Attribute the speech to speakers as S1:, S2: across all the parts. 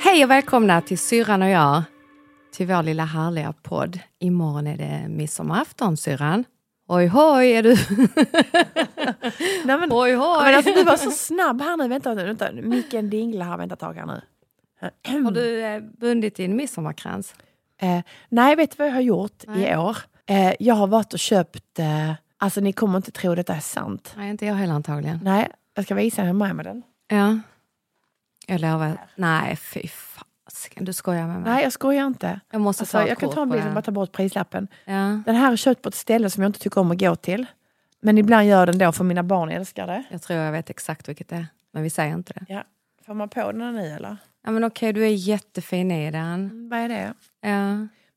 S1: Hej och välkomna till syrran och jag, till vår lilla härliga podd. Imorgon är det midsommarafton syrran. Oj hoj är du!
S2: Nej, men,
S1: Oj
S2: men
S1: hoj!
S2: alltså, du var så snabb här nu. Vänta, vänta, vänta. Micken dinglar här. Vänta ett tag här nu.
S1: Har du eh, bundit din midsommarkrans?
S2: Eh, nej, vet du vad jag har gjort i år? Eh, jag har varit och köpt... Eh, alltså ni kommer inte tro detta är sant.
S1: Nej, inte jag heller antagligen.
S2: Nej, jag ska visa er hur med den.
S1: Ja. Jag lovar. Nej, fy fasiken. Du skojar med mig.
S2: Nej, jag skojar inte.
S1: Jag måste
S2: Alltså,
S1: ta ett
S2: jag kan
S1: kort
S2: ta en
S1: på
S2: bild och bara
S1: den.
S2: ta bort prislappen.
S1: Ja,
S2: Den här är köpt på ett ställe som jag inte tycker om att gå till. Men ibland gör den då för mina barn älskar det.
S1: jag tror jag vet exakt vilket det är, men vi säger inte det.
S2: Ja. Får man på den nu eller?
S1: Ja, men okej, du är jättefin i den.
S2: Vad är det?
S1: Ja.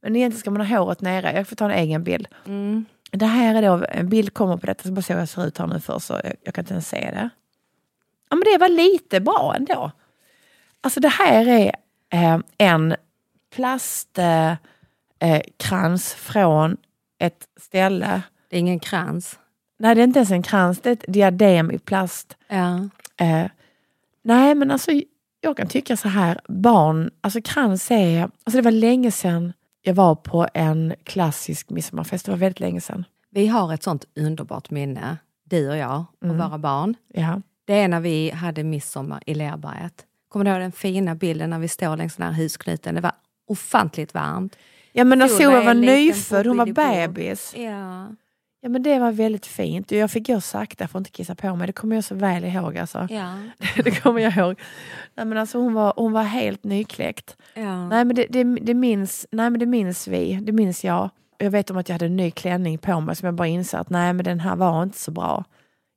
S2: Men egentligen ska man ha håret nere. Jag får ta en egen bild.
S1: Mm.
S2: Det här är då, en bild kommer på detta, så bara se hur jag ser ut här nu först. så Jag, jag kan inte ens se det. Ja men det var lite bra ändå. Alltså det här är eh, en plastkrans eh, krans från ett ställe.
S1: Det är ingen krans.
S2: Nej det är inte ens en krans, det är ett diadem i plast.
S1: Ja.
S2: Eh, nej, men alltså jag kan tycka så här, barn, alltså krans är, alltså det var länge sedan jag var på en klassisk midsommarfest, det var väldigt länge sedan.
S1: Vi har ett sånt underbart minne, du och jag och våra barn.
S2: Ja.
S1: Det är när vi hade midsommar i Lerberget. Kommer du ihåg den fina bilden när vi står längs den här husknuten? Det var ofantligt varmt.
S2: Ja men när
S1: Sola är
S2: Sola var
S1: en liten
S2: nyfödd, hon var
S1: poppidibo.
S2: bebis.
S1: Ja,
S2: Ja men det var väldigt fint. Jag fick gå sakta för att inte kissa på mig, det kommer jag så väl ihåg alltså.
S1: ja,
S2: det kommer jag ihåg. Nej men alltså hon var, hon var helt nykläckt.
S1: ja.
S2: Nej men det, det, det minns, nej men det minns vi, det minns jag. Jag vet om att jag hade en ny klänning på mig som jag bara insåg att nej men den här var inte så bra.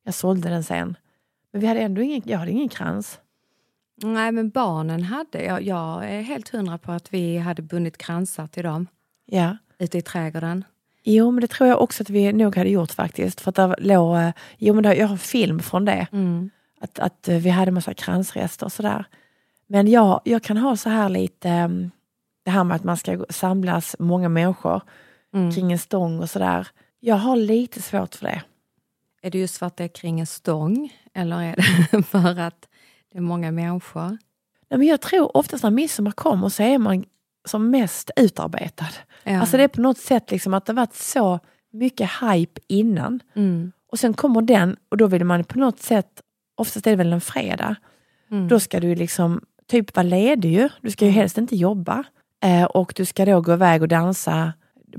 S2: Jag sålde den sen. Men vi hade ändå ingen, jag hade ingen krans.
S1: Nej, men barnen hade... Jag, jag är helt hundra på att vi hade bundit kransar till dem
S2: Ja.
S1: ute i trädgården.
S2: Jo men det tror jag också att vi nog hade gjort faktiskt. För att där låg, eh, jo men det, jag har en film från det. Att, att eh, vi hade massa kransrester och sådär. Men jag, jag kan ha så här lite, eh, det här med att man ska gå- samlas många människor kring en stång och sådär. Jag har lite svårt för det.
S1: Är det just för att det är kring en stång eller är det för att det är många människor?
S2: Nej, men jag tror oftast när midsommar kommer så är man som mest utarbetad.
S1: Ja.
S2: Alltså det är på något sätt liksom att det varit så mycket hype innan.
S1: Mm.
S2: Och sen kommer den och då vill man på något sätt, oftast är det väl en fredag, då ska du ju liksom typ vara ledig ju. Du ska ju helst inte jobba. Eh, och du ska då gå iväg och dansa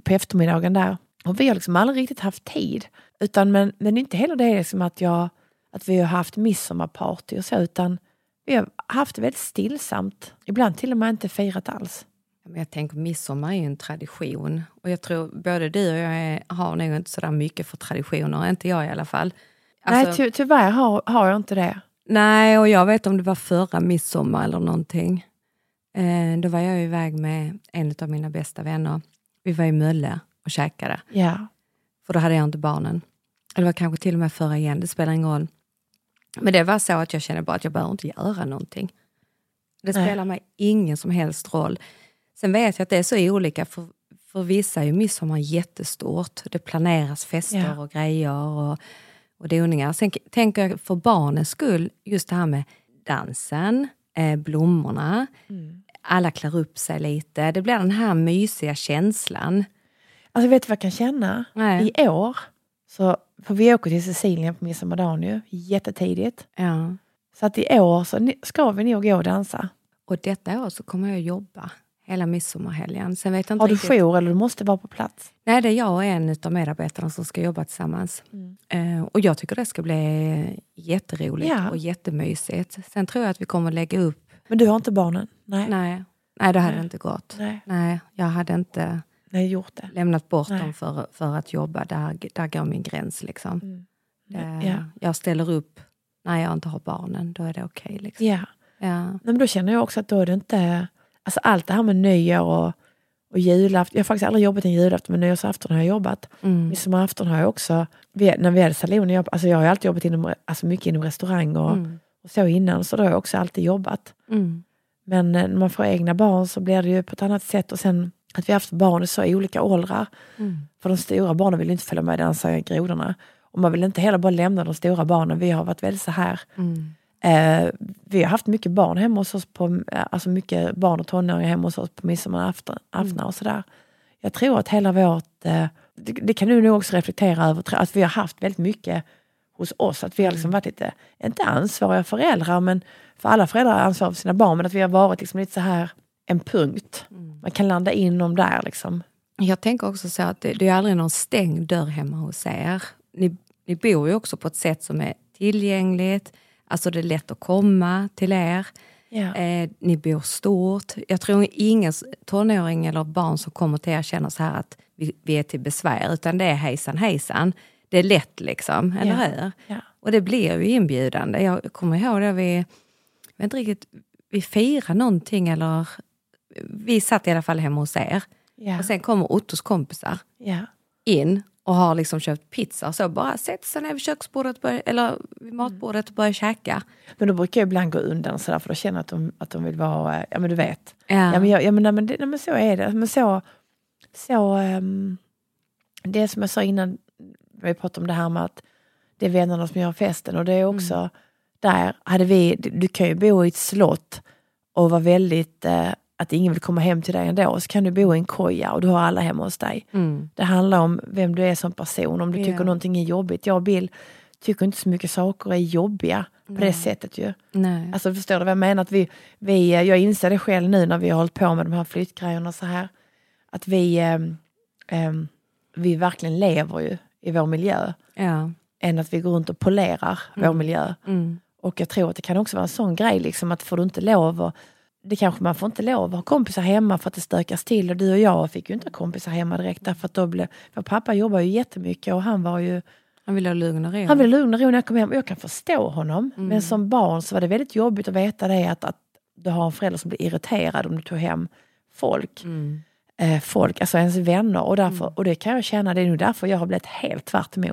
S2: på eftermiddagen där. Och vi har liksom aldrig riktigt haft tid. Utan, men, men inte heller det är liksom att, jag, att vi har haft midsommarparty och så, utan vi har haft det väldigt stillsamt. Ibland till och med inte firat alls.
S1: Ja, Men jag tänker midsommar är ju en tradition. Och jag tror både du och jag är, har nog inte sådär mycket för traditioner, inte jag i alla fall. Alltså,
S2: Nej, typ- ty, tyvärr har, har jag inte det.
S1: nej, och jag vet om det var förra midsommar eller någonting. Eh, då var jag iväg med en av mina bästa vänner. Vi var i Mölle och käkade,
S2: Ja.
S1: för då hade jag inte barnen. Eller det var kanske till och med förra igen, det spelar ingen roll. Men det var så att jag kände bara att jag behöver inte göra någonting. Det
S2: Nej.
S1: spelar mig ingen som helst roll. Sen vet jag att det är så olika. För, för vissa är ju midsommar jättestort. Det planeras fester
S2: Ja.
S1: och grejer och, och doningar. Sen k- tänker jag för barnens skull, just det här med dansen, eh, blommorna.
S2: Mm.
S1: Alla klär upp sig lite. Det blir den här mysiga känslan.
S2: Alltså vet du vad jag kan känna?
S1: Nej.
S2: I år, så, för vi åker till Sicilien på midsommardagen ju, jättetidigt.
S1: Ja.
S2: Så att i år så ni- ska vi nog gå och dansa.
S1: Och detta år så kommer jag jobba hela midsommarhelgen. Sen vet jag inte
S2: Har du
S1: riktigt-
S2: jour eller du måste vara på plats?
S1: Nej, det är jag och en av medarbetarna som ska jobba tillsammans.
S2: Mm.
S1: Eh, och jag tycker det ska bli jätteroligt
S2: Ja.
S1: och jättemysigt. Sen tror jag att vi kommer lägga upp...
S2: Men du har inte barnen? Nej.
S1: Nej, nej det hade inte gått.
S2: Nej.
S1: Nej, jag hade inte
S2: Nej, gjort det.
S1: lämnat bort
S2: Nej.
S1: dem för, för att jobba. Där, där går min gräns. Liksom. Eh,
S2: Mm. Ja.
S1: Jag ställer upp när jag inte har barnen. Då är det okej. liksom.
S2: Ja.
S1: ja.
S2: Nej, men då känner jag också att då är det inte... Alltså allt det här med nyår och, och julafton. Jag har faktiskt aldrig jobbat en julafton, men nyårsafton har jag jobbat.
S1: Mm.
S2: Midsommarafton har jag också... Vi, när vi hade salonen, jag, alltså jag har ju alltid jobbat inom, alltså mycket inom restaurang och,
S1: Mm.
S2: och så innan, så då har jag också alltid jobbat.
S1: Mm.
S2: Men eh, när man får egna barn så blir det ju på ett annat sätt. Och sen att vi har haft barn i så olika åldrar.
S1: Mm.
S2: För de stora barnen vill ju inte följa med och dansa i grodorna. Och man vill inte heller bara lämna de stora barnen. Vi har varit väldigt så här.
S1: Mm.
S2: Eh, vi har haft mycket barn hemma hos oss, på, eh, alltså mycket barn och tonåringar hemma hos oss på midsommarafton aftnar och sådär. Jag tror att hela vårt, eh, det, det kan du nog också reflektera över, tror jag, att vi har haft väldigt mycket hos oss, att vi har liksom
S1: Mm.
S2: varit lite, inte ansvariga föräldrar, men för alla föräldrar är ansvariga för sina barn, men att vi har varit liksom lite så här en punkt.
S1: Mm.
S2: Man kan landa inom där liksom.
S1: Jag tänker också så att det, det är aldrig någon stängd dörr hemma hos er. Ni, ni bor ju också på ett sätt som är tillgängligt, alltså det är lätt att komma till er.
S2: Ja.
S1: Eh, ni bor stort. Jag tror ingen s- tonåring eller barn som kommer till er känner så här att vi, vi är till besvär, utan det är hejsan hejsan. Det är lätt liksom, eller
S2: Ja.
S1: hur?
S2: Ja.
S1: Och det blir ju inbjudande. Jag kommer ihåg det, vi, jag vet inte riktigt, vi firade någonting eller vi satt i alla fall hemma hos er.
S2: Ja.
S1: Och sen kommer Ottos kompisar
S2: Ja.
S1: in och har liksom köpt pizza och så bara sätter sig ner vid köksbordet och börjar, eller vid matbordet och börjar käka.
S2: Men då brukar jag ibland gå undan sådär, för då känner jag att de, att de vill vara, eh, ja men du vet.
S1: Ja.
S2: Ja, men, jag, ja, men, nej, men, det, nej, men så är det. Men så, så, ehm, det som jag sa innan, vi pratade om det här med att det är vännerna som gör festen och det är också,
S1: Mm.
S2: där hade vi, du- du kan ju bo i ett slott och vara väldigt, eh, att ingen vill komma hem till dig ändå, så kan du bo i en koja och du har alla hemma hos dig.
S1: Mm.
S2: Det handlar om vem du är som person, om du
S1: Ja.
S2: tycker någonting är jobbigt. Jag och Bill tycker inte så mycket saker är jobbiga på det sättet ju.
S1: Nej.
S2: Alltså förstår du vad jag menar? Att vi, vi, eh, jag inser det själv nu när vi har hållit på med de här flyttgrejerna och så här. Att vi, ehm, ehm, vi verkligen lever ju i vår miljö.
S1: Ja.
S2: Än att vi går runt och polerar vår miljö.
S1: Mm.
S2: Och jag tror att det kan också vara en sån grej, liksom, att får du inte lov, och, det kanske man får inte lov att ha kompisar hemma för att det stökas till. Och du och jag fick ju inte ha kompisar hemma direkt därför att då blev, för pappa jobbar ju jättemycket och han var ju,
S1: Han vill ha lugn och ro.
S2: han ville lugn och ro när jag kom hem och jag kan förstå honom. Men som barn så var det väldigt jobbigt att veta det att, att du har en förälder som blir irriterad om du tog hem folk.
S1: Mm.
S2: Eh, folk, alltså ens vänner. Och, därför, och det kan jag känna, det är nog därför jag har blivit helt tvärt emot.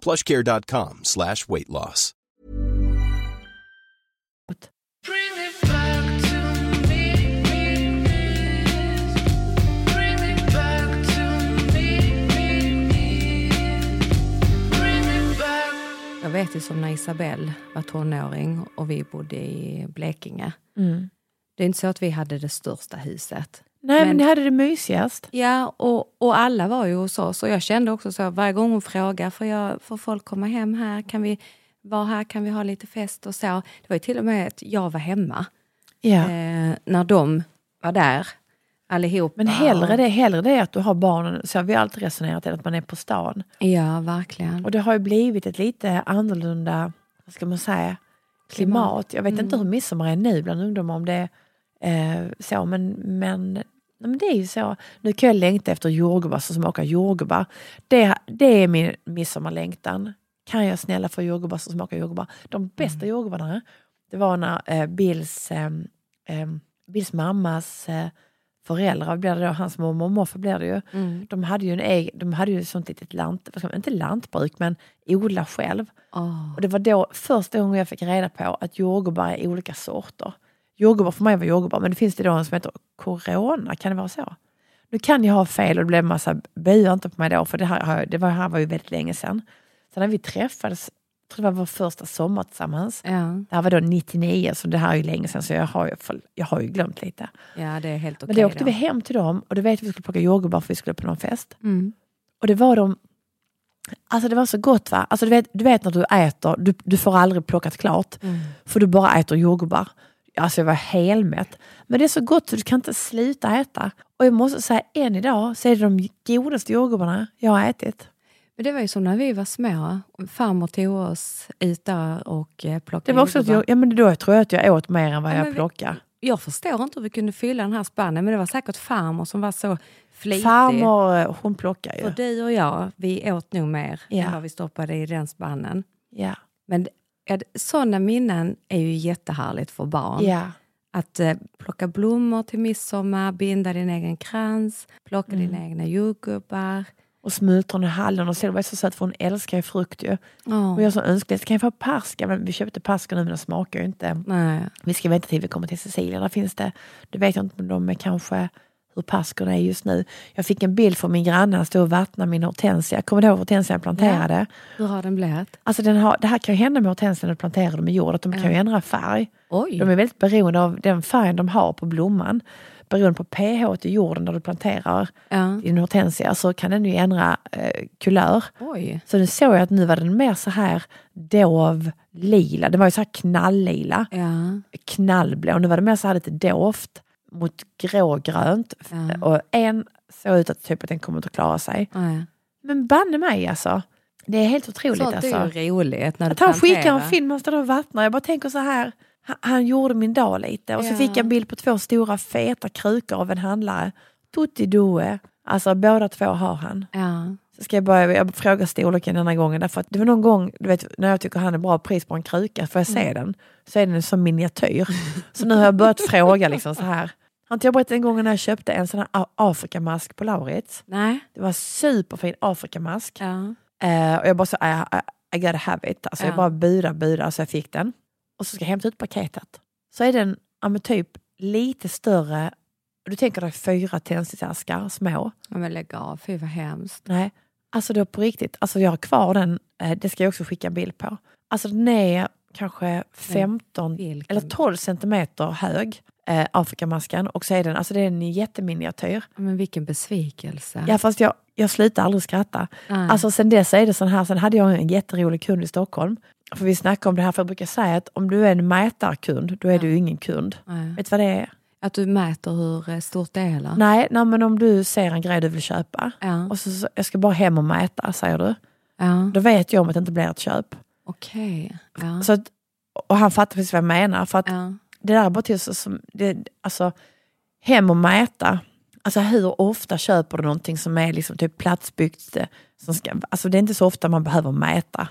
S3: plushcare.com slash weight loss.
S4: Bring it back to me, me, me. Bring it back to me, me, me. Bring it back.
S1: Jag vet ju som när Isabelle var tonåring och vi bodde i Blekinge. Det är inte så att vi hade det största huset.
S2: Mm. Nej, men,
S1: Men-
S2: ni hade det mysigast.
S1: Ja, och, och alla var ju hos oss. Och jag kände också så, varje gång hon frågar, får, jag, får folk komma hem här? Kan vi vara här? Kan vi ha lite fest och så? Det var ju till och med att jag var hemma
S2: Ja.
S1: eh, när de var där, allihopa.
S2: Men hellre det, hellre det att du har barnen, så har vi alltid resonerat, än att man är på stan.
S1: Ja, verkligen.
S2: Och det har ju blivit ett lite annorlunda, vad ska man säga, klimat. Jag vet inte hur midsommar är nu bland ungdomar, om det är eh, så, men, men, nej, men det är ju så. Nu kan jag längta efter jordgubbar som smakar jordgubbar. Det, det är min midsommarlängtan. Kan jag snälla få jordgubbar som smakar jordgubbar? De bästa jordgubbarna, eh, det var när eh, Bills, eh, eh, Bills mammas eh, föräldrar, blir det då, hans mormor och morfar blir det ju, de hade ju en egen, de hade ju ett sånt litet lant, vad ska man, inte lantbruk, men odla själv.
S1: Åh,
S2: Och det var då första gången jag fick reda på att jordgubbar är olika sorter. Jordgubbar för mig var jordgubbar, men det finns det då en som heter corona, kan det vara så? Nu kan jag ha fel och det blev en massa, böja inte på mig då, för det här, har jag- det var, här var ju väldigt länge sedan. Sen när vi träffades, tror det var vår första sommar tillsammans.
S1: Ja,
S2: Det här var då 99, så det här är ju länge sedan, så jag har ju, för- jag har ju glömt lite.
S1: ja det är helt okej.
S2: Men då åkte
S1: då.
S2: vi hem till dem och då vet jag att vi skulle plocka jordgubbar för vi skulle på någon fest.
S1: Mm.
S2: Och det var de, alltså det var så gott va? Alltså du vet, du vet när du äter, du, du får aldrig plockat klart.
S1: Mm.
S2: För du bara äter jordgubbar. Alltså jag var helmätt. Men det är så gott så du kan inte sluta äta. Och jag måste säga, än idag så är det de godaste jordgubbarna jag har ätit.
S1: Men det var ju som när vi var små. Farmor tog oss ut där och eh,
S2: Det
S1: plockade
S2: var också att
S1: jordgubbar.
S2: jag, ja, men då jag tror jag att jag åt mer än vad
S1: Ja, men
S2: jag
S1: vi-
S2: plockade.
S1: Jag förstår inte hur vi kunde fylla den här spannen, men det var säkert farmor som var så flitig.
S2: Farmor, eh, hon plockar ju.
S1: Och du och jag, vi åt nog mer
S2: Ja.
S1: än vad vi stoppade i den spannen.
S2: Ja.
S1: Men ja, det- sådana minnen är ju jättehärligt för barn.
S2: ja.
S1: Att eh, plocka blommor till midsommar, binda din egen krans, plocka
S2: Mm.
S1: dina egna jordgubbar.
S2: Och smultron och hallon och Selma är så söt för hon älskar ju frukt ju.
S1: Ja.
S2: Och jag som önskade, kan jag få perska? Men vi köpte perska nu men de smakar ju inte.
S1: Nej.
S2: Vi ska vänta till vi kommer till Sicilien. Där finns det, det vet jag inte om de är kanske hur paskorna är just nu. Jag fick en bild från min granne, han stod och vattnade min hortensia. Kommer du ihåg hortensian jag planterade?
S1: Hur har den blivit?
S2: Alltså den har, det här kan ju hända med hortensian när du planterar dem i jord, att de kan ju ändra färg.
S1: Oj!
S2: De är väldigt beroende av den färgen de har på blomman. Beroende på pH i jorden när du planterar
S1: Ja.
S2: din hortensia så kan den ju ändra eh, kulör.
S1: Oj.
S2: Så nu såg jag att nu var den mer så här dov lila. Den var ju så här knalllila,
S1: Ja.
S2: knallblå. Nu var det mer så här lite dovt mot grågrönt. Och en såg ut att typ att den kommer inte att klara sig.
S1: Nej.
S2: Men banne mig alltså. Det är helt otroligt
S1: Sånt
S2: alltså.
S1: är ju roligt. När du
S2: Att han skickar en
S1: planterar.
S2: film, han står och vattnar. Jag bara tänker så här, han, han gjorde min dag lite. Och så
S1: Ja.
S2: fick jag en bild på två stora feta krukor av en handlare. Tutti due. Alltså båda två har han.
S1: Ja.
S2: Så ska jag börja jag frågar storleken denna gången. Därför att det var någon gång, du vet, när jag tycker han är bra pris på en kruka, får jag se den, så är den som miniatyr. Så nu har jag börjat fråga liksom så här. Har inte jag berättat en gång när jag köpte en sån här A- Afrikamask på Lauritz?
S1: Nej.
S2: Det var en superfin Afrikamask.
S1: Ja.
S2: Eh, och jag bara så, I, I, I gotta have it. Alltså, Jag
S1: Ja.
S2: bara buda, buda, så jag fick den. Och så ska jag hämta ut paketet. Så är den ja, men typ lite större. Du tänker dig fyra tändsticksaskar, små.
S1: ja men lägg av, fy vad hemskt.
S2: Nej, alltså då på riktigt. Alltså jag har kvar den, eh, det ska jag också skicka en bild på. Alltså den är kanske 15
S1: vilken-
S2: eller 12 centimeter hög, eh, Afrikamasken. Och så är den, alltså det är en jätteminiatyr.
S1: Ja, Men vilken besvikelse.
S2: Ja fast jag, jag slutar aldrig skratta.
S1: Nej.
S2: Alltså sen dess är det sån här, sen hade jag en jätterolig kund i Stockholm. För vi snackade om det här, för jag brukar säga att om du är en mätarkund, då är du ingen kund.
S1: Nej.
S2: Vet du vad det är?
S1: Att du mäter hur eh, stort det är eller?
S2: Nej, nej, men om du ser en grej du vill köpa
S1: Ja.
S2: och så, så jag ska bara hem och mäta, säger du.
S1: Ja.
S2: Då vet jag om att det inte blir ett köp.
S1: Okej. Ja.
S2: Så att, och han fattar precis vad jag menar. För att
S1: Ja.
S2: det där är bara till så som, det, alltså, hem och mäta. Alltså hur ofta köper du någonting som är liksom typ platsbyggt? eh, Som ska, alltså det är inte så ofta man behöver mäta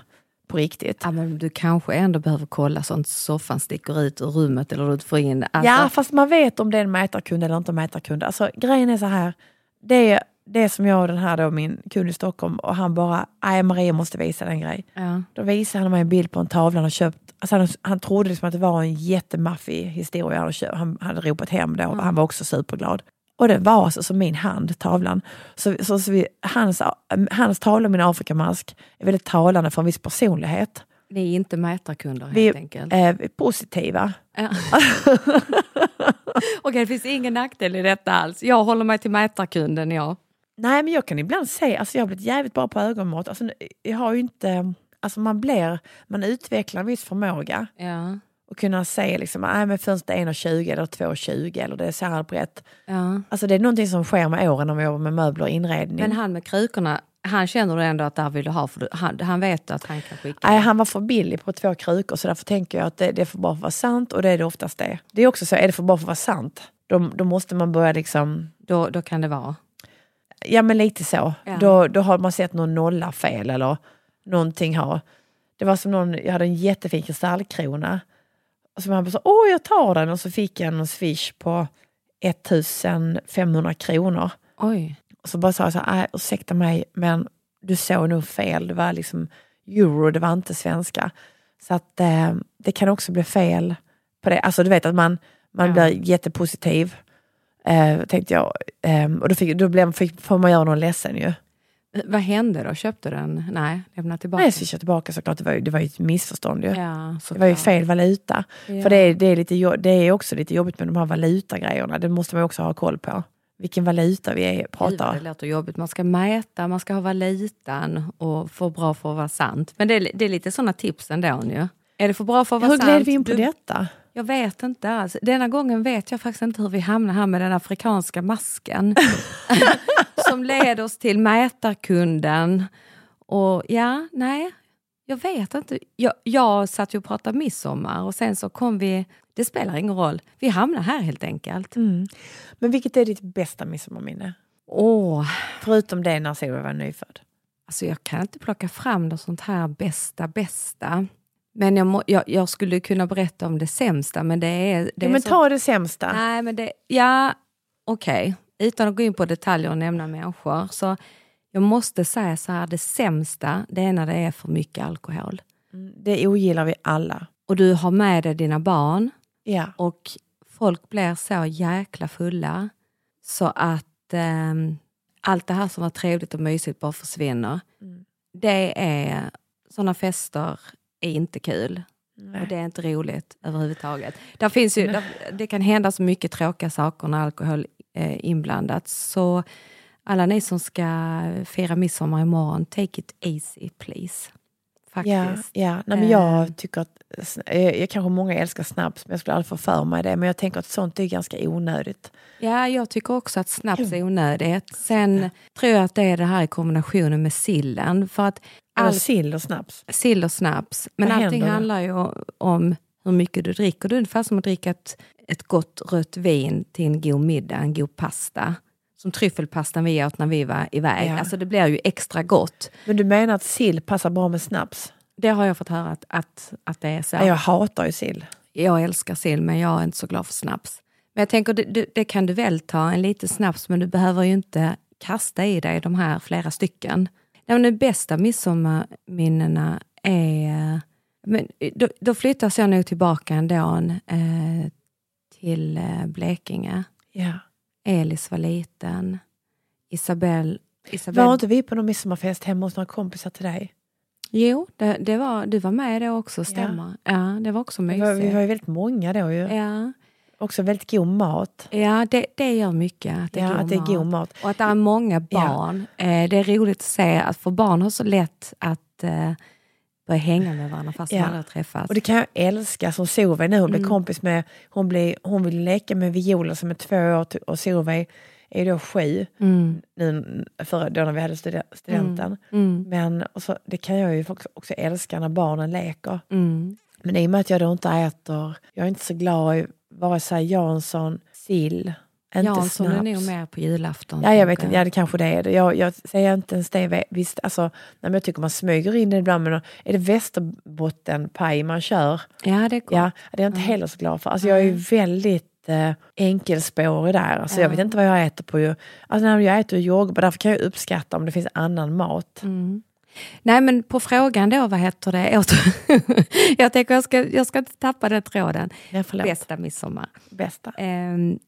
S2: på riktigt.
S1: Ja, men du kanske ändå behöver kolla så att soffan sticker ut ur rummet eller du får in... Alltså,
S2: ja, fast man vet om det är en mätarkund eller inte en mätarkund. Alltså grejen är så här, det är det som jag och den här då, min kund i Stockholm, och han bara, nej Maria måste visa den grej.
S1: ja.
S2: Då visade han mig en bild på en tavla han hade köpt. Alltså han, han trodde liksom att det var en jättemaffig historia han hade, köpt. han hade ropat hem då. Han var också superglad. Och det var alltså som min hand, tavlan. Så, så, så vi, hans, hans tavla och min afrikamask är väldigt talande för en viss personlighet.
S1: Ni är inte mätarkunder
S2: Vi
S1: helt enkelt.
S2: eh, vi är positiva.
S1: Ja. Okej, det finns ingen nackdel i detta alls. Jag håller mig till mätarkunden, jag.
S2: Nej men jag kan ibland säga, alltså jag har blivit jävligt bra på ögonmått. Alltså, nu- jag har ju inte, alltså man blir, man utvecklar en viss förmåga.
S1: Ja.
S2: Och kunna se liksom, nej men fönstret är 1,20 eller 2,20 eller det är så här brett.
S1: Ja.
S2: Alltså det är någonting som sker med åren om jag jobbar med möbler och inredning.
S1: Men han med krukorna, han känner du ändå att där vill du ha, för du- han, han vet att han kan skicka.
S2: Nej, han var för billig på två krukor så därför tänker jag att det, det får bara vara sant och det är det oftast det. Det är också så, är det för bara för vara sant, då, då måste man börja liksom,
S1: Då, då kan det vara.
S2: ja men lite så.
S1: Ja.
S2: Då, då har man sett någon nolla fel eller någonting har. Det var som någon, jag hade en jättefin kristallkrona. Och så man bara så, åh jag tar den och så fick jag en swish på 1500 kronor.
S1: Oj.
S2: Och så bara sa jag så här, "Aj, ursäkta mig, men du såg nog fel. Det var liksom euro, det var inte svenska. Så att eh, det kan också bli fel på det. Alltså du vet att man, man
S1: Ja.
S2: blir Ehm, jättepositiv. Eh, tänkte jag. Eh, och då, fick, då blev, fick, får man göra någon ledsen ju.
S1: Vad hände då? Köpte du den? Nej, lämna tillbaka.
S2: Nej, jag swishade tillbaka såklart. Det var ju, det var ju ett missförstånd ju.
S1: Ja,
S2: Det var ju
S1: såklart.
S2: fel valuta. För det är, det, är lite, jo- det är också lite jobbigt med de här valutagrejerna. Det måste man ju också ha koll på. Vilken valuta vi är,
S1: Gud,
S2: pratar.
S1: Det låter jobbigt. Man ska mäta, man ska ha valutan och för bra för att vara sant. Men det är, det är lite sådana tips ändå nu. Är det för bra för att vara
S2: Hur
S1: sant?
S2: gled vi in på
S1: Du-
S2: detta?
S1: Jag vet inte alls. Denna gången vet jag faktiskt inte hur vi hamnar här med den afrikanska masken. som leder oss till mätarkunden. Och ja, nej, jag vet inte. Jag, jag satt ju och pratade midsommar och sen så kom vi, det spelar ingen roll, vi hamnar här helt enkelt.
S2: Mm. Men vilket är ditt bästa midsommarminne?
S1: Åh,
S2: Förutom det när Silvia var nyfödd.
S1: alltså jag kan inte plocka fram något sånt här bästa, bästa. Men jag, må, jag, jag skulle kunna berätta om det sämsta, men det är... Det
S2: Ja,
S1: är
S2: men
S1: så-
S2: ta det sämsta.
S1: Nej, men det, ja, okej. Utan att gå in på detaljer och nämna människor. Så jag måste säga så här, det sämsta, det är när det är för mycket alkohol.
S2: Det ogillar vi alla.
S1: Och du har med dig dina barn
S2: Ja.
S1: och folk blir så jäkla fulla så att ehm, allt det här som var trevligt och mysigt bara försvinner.
S2: Mm.
S1: Det är, sådana fester är inte kul. Och det är inte roligt överhuvudtaget. Där finns ju, där, det kan hända så mycket tråkiga saker när alkohol är inblandat. Så alla ni som ska fira midsommar imorgon, take it easy please.
S2: Ja,
S1: Faktiskt.
S2: ja. Nej, men jag tycker att, sn- eh, jag kanske många älskar snaps, men jag skulle aldrig få för mig det. Men jag tänker att sånt är ganska onödigt.
S1: Ja, jag tycker också att snaps är onödigt. Sen tror jag att det är det här i kombinationen med sillen. För att
S2: All...
S1: all
S2: Sill och snaps.
S1: sill och snaps, men
S2: Vad
S1: allting
S2: händer då?
S1: handlar ju om hur mycket du dricker. Det är ungefär som att dricka ett, ett gott rött vin till en god middag, en god pasta. Som tryffelpastan vi åt när vi var iväg.
S2: Ja.
S1: Alltså det blir ju extra gott.
S2: Men du menar att sill passar bra med snaps?
S1: Det har jag fått höra att, att, att det är så.
S2: Nej, Jag hatar ju sill.
S1: jag älskar sill men jag är inte så glad för snaps. Men jag tänker, det, det, det kan du väl ta en liten snaps men du behöver ju inte kasta i dig de här flera stycken. Nej, men de bästa midsommarminnena är... Men då, då flyttas jag nog tillbaka ändå eh, till eh, Blekinge.
S2: Ja.
S1: Elis var liten. Isabel... Isabel
S2: Var inte vi på någon midsommarfest hemma hos några kompisar till dig?
S1: Jo, det, det var, du var med då också, stämmer. Ja, det var också
S2: Vi var, vi var
S1: mysigt.
S2: ju väldigt många då ju.
S1: Ja.
S2: Också väldigt god mat.
S1: Ja, det, det gör mycket. Att det,
S2: Ja,
S1: är, god
S2: att det är
S1: mat.
S2: god mat.
S1: Och att det är många
S2: Ja.
S1: barn. Eh, det är roligt att se att för barn har så lätt att eh, börja hänga med varandra fast
S2: Ja.
S1: man aldrig har träffats.
S2: Och det kan jag älska som Solveig nu. Hon
S1: Mm.
S2: blev kompis med, hon, blir, hon vill leka med Viola som är två år ty- och Solveig är då sju.
S1: Mm.
S2: Nu, förra, då när vi hade stude- studenten.
S1: Mm.
S2: Men och så, det kan jag ju också, också älska när barnen leker.
S1: Mm.
S2: Men i och med att jag då inte äter, jag är inte så glad i vare sig Jansson, sill, inte
S1: Jansson
S2: snaps.
S1: är nog mer på julafton.
S2: Ja, jag vet
S1: tänker
S2: inte. Ja, det kanske det är. det. Jag, jag säger inte ens det. Visst, alltså, nej, men jag tycker man smyger in det ibland. Men är det Västerbottenpaj man kör?
S1: Ja, det är gott.
S2: Ja, det är jag inte heller så glad för. Alltså, jag är ju väldigt eh, enkelspårig där. Alltså, Jag vet inte vad jag äter på. Ju. Alltså, när jag äter jordgubbar, därför kan jag uppskatta om det finns annan mat.
S1: Nej, men på frågan då, vad heter det? Åter... jag tänker jag ska, jag ska inte tappa den tråden.
S2: Jag förlåt.
S1: Bästa midsommar.
S2: Bästa.
S1: Ehm,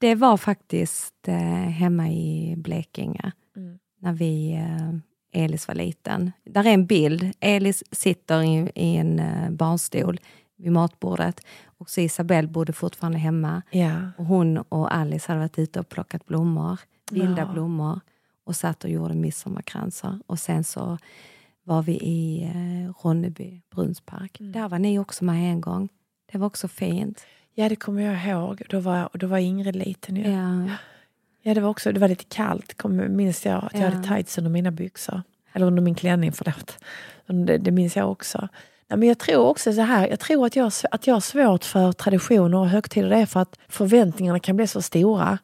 S1: det var faktiskt eh, hemma i Blekinge,
S2: Mm.
S1: när vi, eh, Elis var liten. Där är en bild. Elis sitter i, i en eh, barnstol vid matbordet. Och så Isabelle bodde fortfarande hemma.
S2: Ja.
S1: Och hon och Alice hade varit ute och plockat blommor, vilda
S2: Ja.
S1: blommor och satt och gjorde midsommarkransar. Och sen så var vi i eh, Ronneby brunnspark.
S2: Mm.
S1: Där var ni också med en gång. Det var också fint.
S2: ja, det kommer jag ihåg. Då var, då var Ingrid liten. Ju. Ja.
S1: Ja.
S2: det var också det var lite kallt, kom, minns jag. Att jag
S1: Ja.
S2: hade tights under mina byxor. Eller under min klänning, förlåt. Det, det minns jag också. Nej, men jag tror också så här, jag tror att jag, har sv- att jag har svårt för traditioner och högtider. Det är för att förväntningarna kan bli så stora.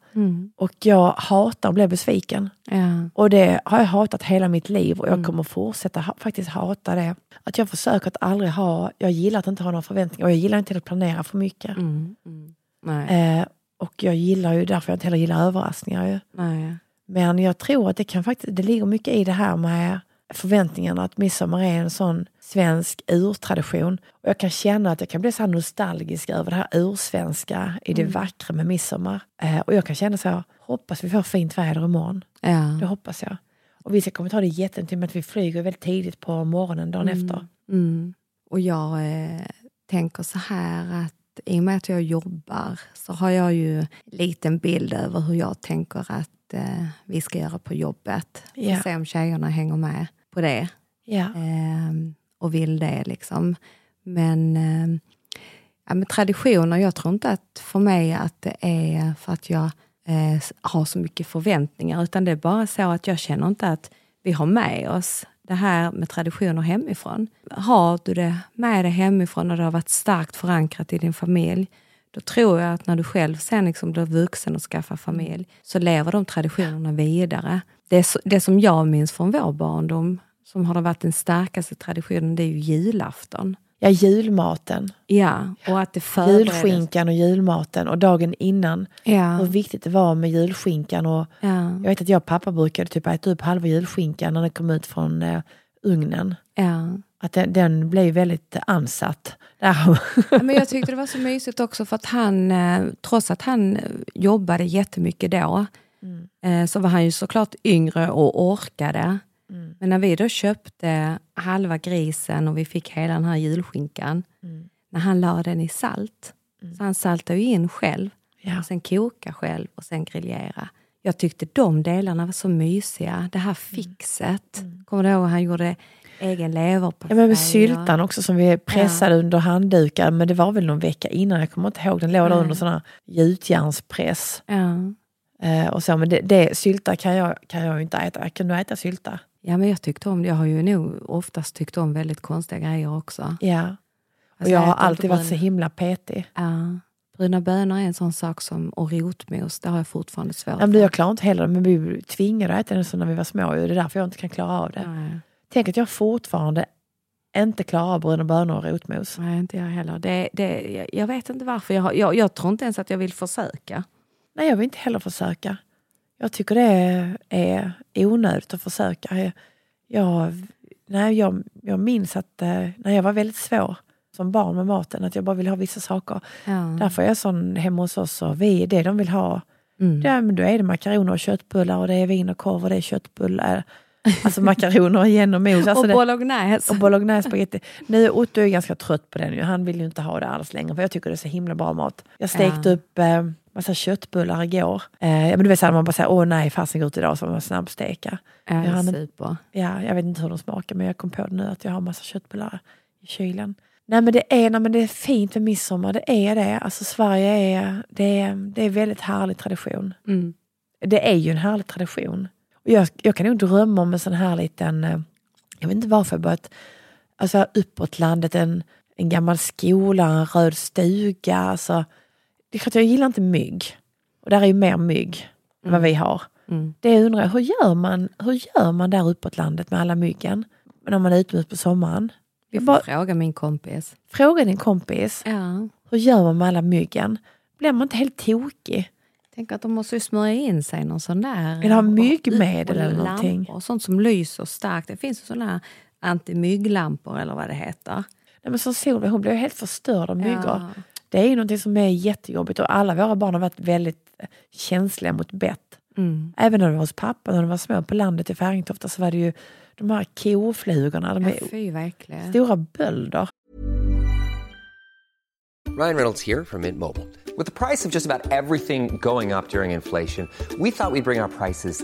S2: Och jag hatar att bli besviken.
S1: Ja.
S2: Och det har jag hatat hela mitt liv och jag kommer fortsätta ha, faktiskt hata det. Att jag försöker att aldrig ha, jag gillar att inte ha några förväntningar och jag gillar inte att planera för mycket.
S1: Nej.
S2: Eh, och jag gillar ju därför jag inte heller gillar överraskningar. Ju.
S1: Nej.
S2: Men jag tror att det kan faktiskt, det ligger mycket i det här med förväntningarna att midsommar är en sån svensk urtradition. Och jag kan känna att jag kan bli så här nostalgisk över det här ursvenska i
S1: Mm.
S2: det vackra med midsommar. Eh, och jag kan känna så, här, hoppas vi får fint väder imorgon.
S1: Ja.
S2: Det hoppas jag. Och vissa kommer ta det jättentid med att vi flyger väldigt tidigt på morgonen dagen efter.
S1: Mm. Och jag eh, tänker så här att i och med att jag jobbar så har jag ju en liten bild över hur jag tänker att eh, vi ska göra på jobbet.
S2: Ja.
S1: Och se om tjejerna hänger med på det
S2: Ja.
S1: eh, och vill det. liksom. Men, eh, ja, men traditioner, jag tror inte att för mig att det är för att jag eh, s- har så mycket förväntningar, utan det är bara så att jag känner inte att vi har med oss det här med traditioner hemifrån. Har du det med dig hemifrån och det har varit starkt förankrat i din familj, då tror jag att när du själv sen liksom blir vuxen och skaffar familj, så lever de traditionerna vidare. Det, är så, det som jag minns från vår barndom, som har varit den starkaste traditionen, det är ju julafton.
S2: ja, julmaten.
S1: Ja, och att det förbereds.
S2: Julskinkan och julmaten och dagen innan. Hur
S1: Ja,
S2: viktigt det var med julskinkan. Och
S1: ja,
S2: jag vet att jag och pappa brukade typ äta upp halva julskinkan när den kom ut från eh, ugnen.
S1: ja.
S2: Att den, den blev väldigt eh, ansatt. Där.
S1: Ja, Men jag tyckte det var så mysigt också för att han, eh, trots att han eh, jobbade jättemycket då,
S2: Mm.
S1: eh, så var han ju såklart yngre och orkade.
S2: Mm.
S1: Men när vi då köpte halva grisen och vi fick hela den här julskinkan,
S2: Mm.
S1: när han la den i salt, så han saltade ju in själv,
S2: ja.
S1: och sen koka själv och sen grillera. Jag tyckte de delarna var så mysiga, det
S2: Mm.
S1: här fixet. Kommer du ihåg han gjorde egen leverpastej?
S2: Ja, men med
S1: och-
S2: syltan också som vi pressade under handdukar. Men det var väl någon vecka innan, jag kommer inte ihåg. Den låg där under sån här gjutjärnspress.
S1: Ja.
S2: Eh, och så, men det, det, sylta kan jag, kan jag ju inte äta. Kan du äta sylta?
S1: Ja, men jag tyckte om det. Jag har ju nog oftast tyckt om väldigt konstiga grejer också.
S2: Ja. Och
S1: Alltså,
S2: jag
S1: jag
S2: har
S1: äter inte
S2: alltid varit
S1: brun.
S2: så himla petig.
S1: Ja. Bruna bönor är en sån sak som, och rotmos, det har jag fortfarande svårt
S2: Ja, men du, jag klarar inte heller det, men vi blev tvingade att äta den så när vi var små. ju. Det är därför jag inte kan klara av det.
S1: Nej.
S2: Tänk att jag fortfarande inte klarar av bruna bönor och rotmos.
S1: Nej, inte jag heller. Det, det, jag- jag vet inte varför. Jag, har- jag, jag tror inte ens att jag vill försöka.
S2: Nej, jag vill inte heller försöka. Jag tycker det är onödigt att försöka. Jag, nej, jag, jag minns att eh, när jag var väldigt svår som barn med maten, att jag bara ville ha vissa saker.
S1: Ja.
S2: Därför är jag sån hemma hos oss och vi, det de vill ha,
S1: Mm.
S2: ja, men då är det makaroner och köttbullar och det är wienerkorv och det är köttbullar. Alltså makaroner igen och mos. Alltså
S1: och
S2: det-
S1: bolognese.
S2: och bolognese spagetti. Nu Otto är ganska trött på den ju. Han vill ju inte ha det alls längre för jag tycker det är så himla bra mat. Jag stekte
S1: Ja.
S2: upp eh, massa köttbullar igår. Eh, men du vet så här, man bara säger åh nej, fasen går ut idag så man snabbsteka.
S1: Ja,
S2: Jag hann inte-
S1: super.
S2: Ja, jag vet inte hur de smakar men jag kom på det nu att jag har massa köttbullar i kylen. Nej men det är, nej, men det är fint med midsommar, det är det. Alltså Sverige är, det är, det är en väldigt härlig tradition.
S1: Mm.
S2: Det är ju en härlig tradition. Och jag, jag kan nog drömma om en sån här liten, eh, jag vet inte varför, bara ett, alltså uppåt landet, en, en gammal skola, en röd stuga. Alltså, det är klart jag gillar inte mygg. Och där är ju mer mygg än vad vi har.
S1: Mm.
S2: Det undrar jag, hur gör man, hur gör man där uppåt landet med alla myggen? När man är utomhus på sommaren.
S1: Vi får
S2: Bara-
S1: fråga min kompis.
S2: Fråga din kompis,
S1: Ja.
S2: hur gör man med alla myggen? Blir man inte helt tokig?
S1: Tänk att de måste ju smörja in sig någon sån där...
S2: Eller ha
S1: och-
S2: myggmedel
S1: och
S2: eller
S1: lampor
S2: någonting.
S1: Och sånt som lyser starkt. Det finns ju såna här antimygglampor eller vad det heter.
S2: Nej, men som Solveig, hon blev helt förstörd av myggor.
S1: Ja.
S2: Det är ju någonting som är jättejobbigt och alla våra barn har varit väldigt eh, känsliga mot bett.
S1: Mm.
S2: Även när de var hos pappa, när de var små på landet i Färingtofta så var det ju de här koflugorna, de
S1: Ja,
S2: är
S1: fy verkligen.
S2: stora bölder.
S5: Ryan Reynolds here from Mint Mobile. With the price of just about everything going up during inflation, we thought we'd bring our prices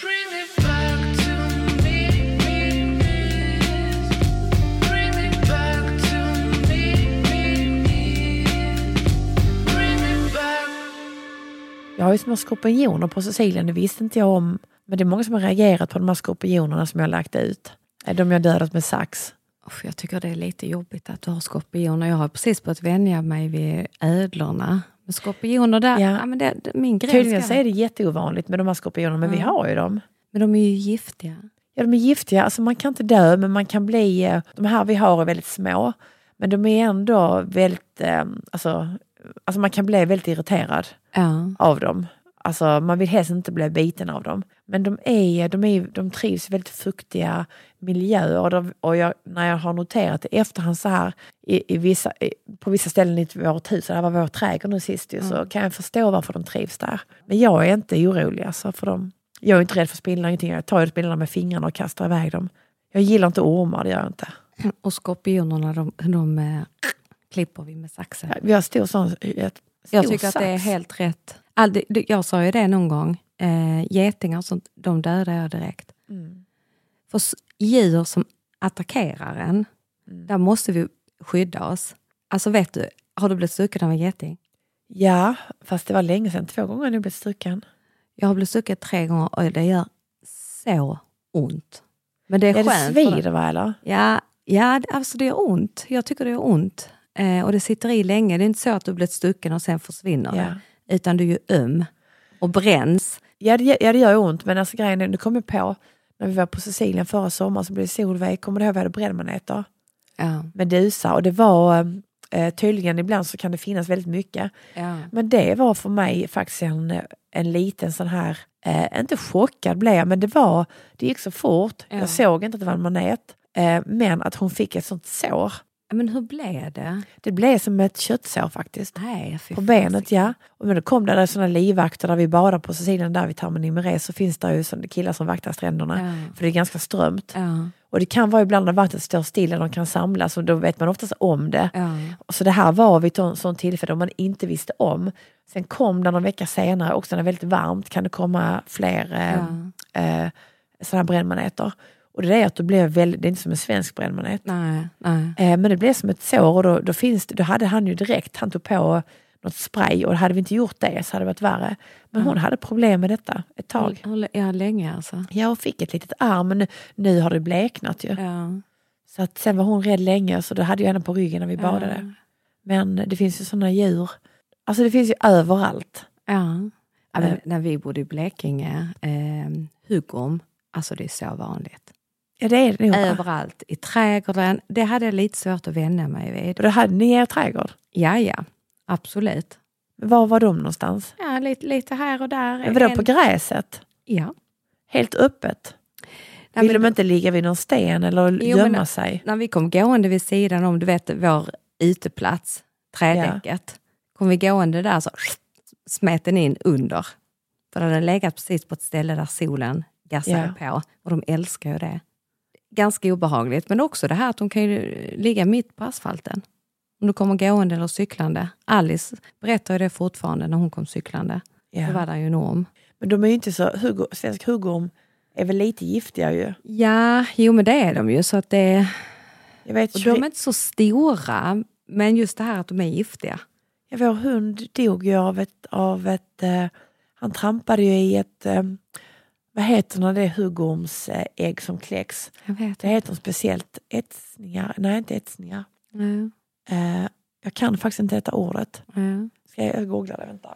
S4: Bring it back to me, me, me. Bring it back to me, me, me. Bring it back.
S2: Jag har ju små skorpioner på Sicilien, det visste inte jag om. Men det är många som har reagerat på de här skorpionerna som jag har lagt ut. Eh, De jag dödat med sax.
S1: Usch, jag tycker det är lite jobbigt att du har skorpioner. Jag har precis börjat vänja mig vid ödlorna. Men skorpioner där, ja.
S2: Ja.
S1: men det, det, min gräns
S2: Tydligen så
S1: där.
S2: är det jätteovanligt med de här skorpionerna, men vi har ju dem.
S1: Men de är ju giftiga.
S2: Ja, de är giftiga. Alltså man kan inte dö, men man kan bli... eh, De här vi har är väldigt små, men de är ändå väldigt... eh, Alltså, alltså man kan bli väldigt irriterad
S1: Ja.
S2: av dem. Alltså man vill helst inte bli biten av dem. Men de, är, de, är, de trivs i väldigt fuktiga miljöer. Och, de, och jag, när jag har noterat det i efterhand så här, i, i vissa, i, på vissa ställen i vårt hus, det här var vår trädgård nu sist ju,
S1: Mm.
S2: så kan jag förstå varför de trivs där. Men jag är inte orolig alltså, för dem. Jag är inte rädd för spindlar, ingenting. Jag tar ju spindlarna med fingrarna och kastar iväg dem. Jag gillar inte ormar, det gör jag inte.
S1: Och skorpionerna, de, de eh, klipper vi med saxen.
S2: Vi har stor sån... Ett, stor
S1: Jag tycker att det är
S2: sax.
S1: helt rätt. All, det- det- jag sa ju det någon gång, eh, getingar och sånt, de dödar jag direkt.
S2: Mm.
S1: För s- djur som attackerar en,
S2: Mm.
S1: där måste vi skydda oss. Alltså vet du, har du blivit stucken av en geting?
S2: Ja, fast det var länge sedan. Två gånger har jag blivit stucken.
S1: Jag har blivit stucken tre gånger och det gör så ont. Men det är,
S2: Är det
S1: skönt. för
S2: svider va, eller?
S1: Ja, ja det- alltså det gör ont. Jag tycker det gör ont. Eh, och det sitter i länge. Det är inte så att du blivit stucken och sen försvinner det. Utan du är ju öm och bränns.
S2: Ja, det, ja, det gör ont, men alltså grejen är, nu kom jag på, när vi var på Sicilien förra sommaren så blev det solväg, kommer du ihåg vi hade brännmaneter?
S1: Ja.
S2: Medusa, och det var eh, tydligen, ibland så kan det finnas väldigt mycket.
S1: Ja.
S2: Men det var för mig faktiskt en, en liten sån här, eh, inte chockad blev jag, men det var, det gick så fort,
S1: Ja.
S2: jag såg inte att det var en manet, eh, men att hon fick ett sånt sår.
S1: Men hur blev det?
S2: Det blev som ett köttsår faktiskt.
S1: Nej, fy
S2: På
S1: fan.
S2: benet ja. Och men då kom det där sådana livvakter där vi badar på Sicilien, där vid Termini Mare, så finns det ju sådana killar som vaktar stränderna.
S1: Ja.
S2: För det är ganska strömt.
S1: Ja.
S2: Och det kan vara ibland när vattnet står stilla, de kan samlas och då vet man oftast om det.
S1: Ja.
S2: Och Så det här var vid ett sånt tillfälle då man inte visste om. Sen kom det någon vecka senare, också när det är väldigt varmt kan det komma fler eh, eh, sådana här brännmaneter. Och det är att du blir väldigt, det är inte som en svensk brännmanet.
S1: Nej, nej.
S2: Eh, Men det blev som ett sår och då, då, finns det, då hade han ju direkt, han tog på något spray och hade vi inte gjort det så hade det varit värre. Men hon hade problem med detta ett tag.
S1: Hur- hur- Ja, länge alltså.
S2: Ja, och fick ett litet arm men nu, nu har det bleknat ju.
S1: Ja.
S2: Så att sen var hon rädd länge så då hade jag henne på ryggen när vi badade. Men det finns ju sådana djur. Alltså det finns ju överallt.
S1: Ja. Ja,
S2: Eh.
S1: men, när vi bodde i Blekinge, eh, huggorm, alltså det är så vanligt.
S2: Ja, det är det nog. va?
S1: Överallt, i trädgården. Det hade jag lite svårt att vänja mig vid.
S2: Och då hade ni er trädgård.
S1: Ja, ja, absolut.
S2: Var var de någonstans?
S1: Ja, lite, lite här och där.
S2: Men Vadå,
S1: En-
S2: på gräset?
S1: Ja.
S2: Helt öppet?
S1: Nej,
S2: Vill
S1: men-
S2: de inte ligga vid någon sten eller
S1: Jo,
S2: gömma
S1: men-
S2: sig?
S1: När vi kom gående vid sidan om, du vet, vår uteplats, trädäcket. Kom vi gående där så smet den in under. För den hade legat precis på ett ställe där solen gassade på. Och de älskar ju det. Ganska obehagligt, men också det här att de kan ju ligga mitt på asfalten. Om du kommer gående eller cyklande. Alice berättar ju det fortfarande när hon kom cyklande.
S2: Ja.
S1: Då var det ju en orm.
S2: Men de är ju inte så, hugg, svensk huggorm är väl lite giftiga ju.
S1: Ja, jo men det är de ju. Så att det,
S2: Jag vet,
S1: och
S2: tjugo-
S1: de är inte så stora, men just det här att de är giftiga.
S2: ja, vår hund dog ju av ett, av ett eh, han trampade ju i ett, eh, vad heter när det är huggormsägg ägg som kläcks?
S1: Jag vet.
S2: Det heter något speciellt etsningar, nej inte etsningar.
S1: Ja,
S2: Eh, jag kan faktiskt inte detta ordet.
S1: ja.
S2: Ska jag, jag googla det, vänta.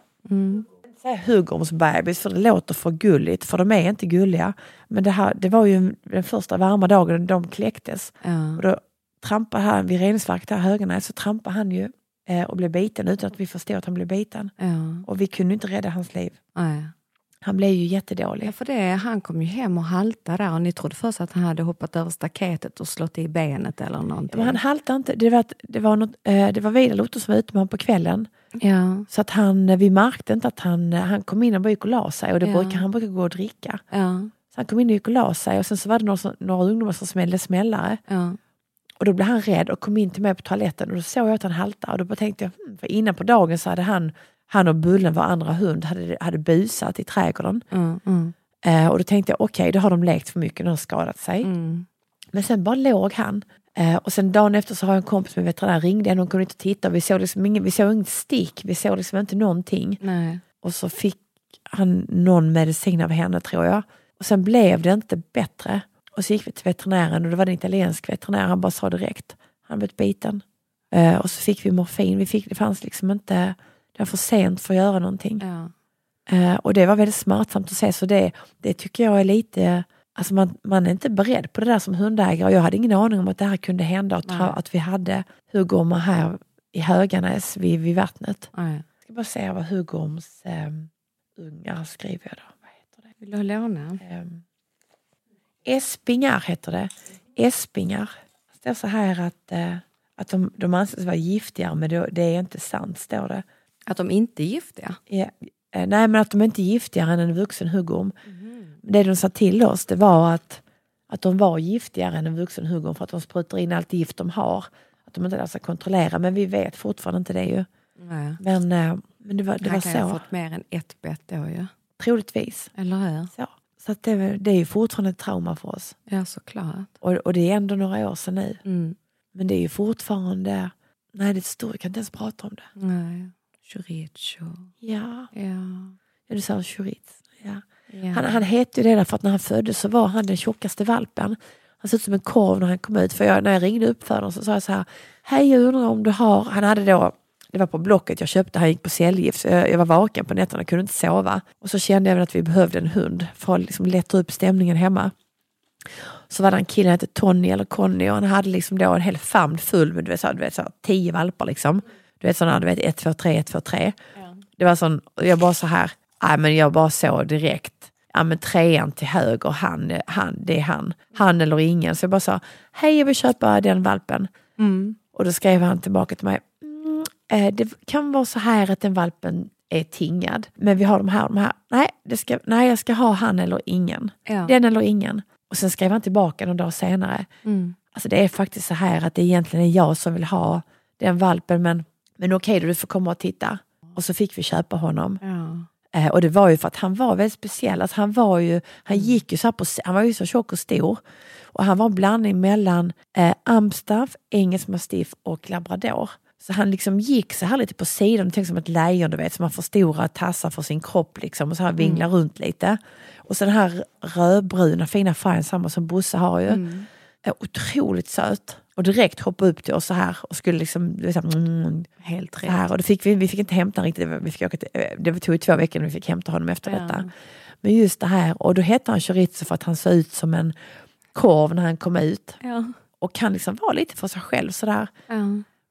S2: Säg huggormsbebis, för det låter för gulligt, för de är inte gulliga. Men det, här, det var ju den första varma dagen de kläcktes. Och då trampade han vid reningsverket här i Höganäs, så trampade han ju eh, och blev biten utan att vi förstod att han blev biten.
S1: ja,
S2: Och vi kunde inte rädda hans liv.
S1: ja.
S2: Han blev ju jättedålig.
S1: Ja, för det, han kom ju hem och haltade där och ni trodde först att han hade hoppat över staketet och slått i benet eller någonting.
S2: Men han haltade inte. Det var, att- det var, något, eh, det var Vidar Lotto som var ute med honom på kvällen.
S1: Ja,
S2: Så att han, eh, vi märkte inte att han, eh, han kom in och bara gick och la sig. Och det
S1: Ja.
S2: brukar, han brukar gå och dricka.
S1: ja,
S2: Så han kom in och gick och la sig. Och sen så var det några, som- några ungdomar som smällde smällare.
S1: ja.
S2: Och då blev han rädd och kom in till mig på toaletten. Och då såg jag att han haltade. Och då bara tänkte jag, hmm, för innan på dagen så hade han, han och Bullen, var andra hund, hade, hade busat i trädgården.
S1: Mm, mm,
S2: Eh, och då tänkte jag, okej, då har de lekt för mycket, och de har skadat sig.
S1: mm.
S2: Men sen bara låg han. Eh, och sen dagen efter så har jag en kompis med veterinär ringde henne, hon kunde inte titta. Vi såg, liksom ingen, vi såg inget stick, vi såg liksom inte någonting.
S1: Nej.
S2: Och så fick han någon medicin av henne tror jag. Och sen blev det inte bättre. Och så gick vi till veterinären och det var en italiensk veterinär. Han bara sa direkt, han blev biten. Eh, och så fick vi morfin. Vi fick, det fanns liksom inte, det var för sent för att göra någonting.
S1: Ja.
S2: Eh, och det var väldigt smärtsamt att se. Så det, det tycker jag är lite, alltså man, man är inte beredd på det där som hundägare. Och jag hade ingen aning om att det här kunde hända. Och tra-
S1: Nej.
S2: att vi hade Hugormar här i Höganäs vid, vid vattnet.
S1: Nej.
S2: Jag ska bara se vad Hugorms eh, ungar skriver jag då. Vad heter det?
S1: Vill du ha låna?
S2: Ehm, Espingar heter det. Espingar. Det står så här att, eh, att de, de anses vara giftiga, men det, det är inte sant, står det.
S1: Att de inte är giftiga?
S2: Ja. Eh, Nej, men att de inte är giftigare än en vuxen huggorm. Det de sa till oss, det var att, att de var giftigare än en vuxen huggorm för att de sprutar in allt gift de har. Att de inte lär sig kontrollera, men vi vet fortfarande inte det ju.
S1: Nej.
S2: Men, eh, men det var, det var
S1: Han kan ju ha
S2: så,
S1: fått mer än ett bett då ju.
S2: troligtvis.
S1: Eller hur?
S2: Så, så att det, det är ju fortfarande ett trauma för oss.
S1: Ja, såklart.
S2: Och, och det är ändå några år sedan nu.
S1: Mm.
S2: Men det är ju fortfarande... Nej, det är stort. Jag kan inte ens prata om det.
S1: Mm. Nej. Chorizo.
S2: Ja,
S1: Ja.
S2: ja, du sa chorizo. Ja.
S1: ja.
S2: Han, han hette ju det därför att när han föddes så var han den tjockaste valpen. Han såg ut som en korv när han kom ut. För jag, när jag ringde upp för honom så sa jag så här, hej jag undrar om du har... Han hade då, det var på Blocket jag köpte, han gick på cellgift. Så jag, jag var vaken på nätterna, kunde inte sova. Och så kände jag väl att vi behövde en hund för att liksom lätta upp stämningen hemma. Så var det en kille, han hette Tony eller Conny och han hade liksom då en hel famn full med du vet, så, du vet, så, här, tio valpar liksom. Du vet sådana, du vet 1, 2, 3, 1, 2, 3. Det var sån, och jag bara så här, nej men jag bara såg direkt, ja men trean till höger, han, han, det är han, han eller ingen. Så jag bara sa, hej jag vill köpa den valpen. Och då skrev han tillbaka till mig, mm, eh, det kan vara så här att den valpen är tingad, men vi har de här och de här. Nej, det ska, nej jag ska ha han eller ingen.
S1: Ja.
S2: Den eller ingen. Och sen skrev han tillbaka någon dag senare.
S1: Mm.
S2: Alltså det är faktiskt så här att det egentligen är jag som vill ha den valpen, men, men okej då, du får komma och titta. Och så fick vi köpa honom.
S1: Ja.
S2: Eh, och det var ju för att han var väldigt speciell. Alltså han, var ju, han, gick ju så här på, han var ju så tjock och stor. Och han var en blandning mellan eh, amstaff, engelsk mastiff och labrador. Så han liksom gick så här lite på sidan, tänk som ett lejon du vet, som man förstorar tassar för sin kropp liksom och så här vinglar runt lite. Och så den här rödbruna fina färgen, samma som Bosse har ju. Eh, Otroligt söt. Och direkt hoppade upp till oss så här och skulle liksom, du vet, så här, mm,
S1: Helt
S2: så
S1: rätt.
S2: här, och då fick vi, vi fick inte hämta honom riktigt, Det var- vi fick åka till, eh, det tog ju två veckor innan vi fick hämta honom efter
S1: Ja.
S2: detta. Men just det här, och då hette han chorizo för att han såg ut som en korv när han kom ut.
S1: Ja.
S2: Och kan liksom vara lite för sig själv sådär.
S1: Ja.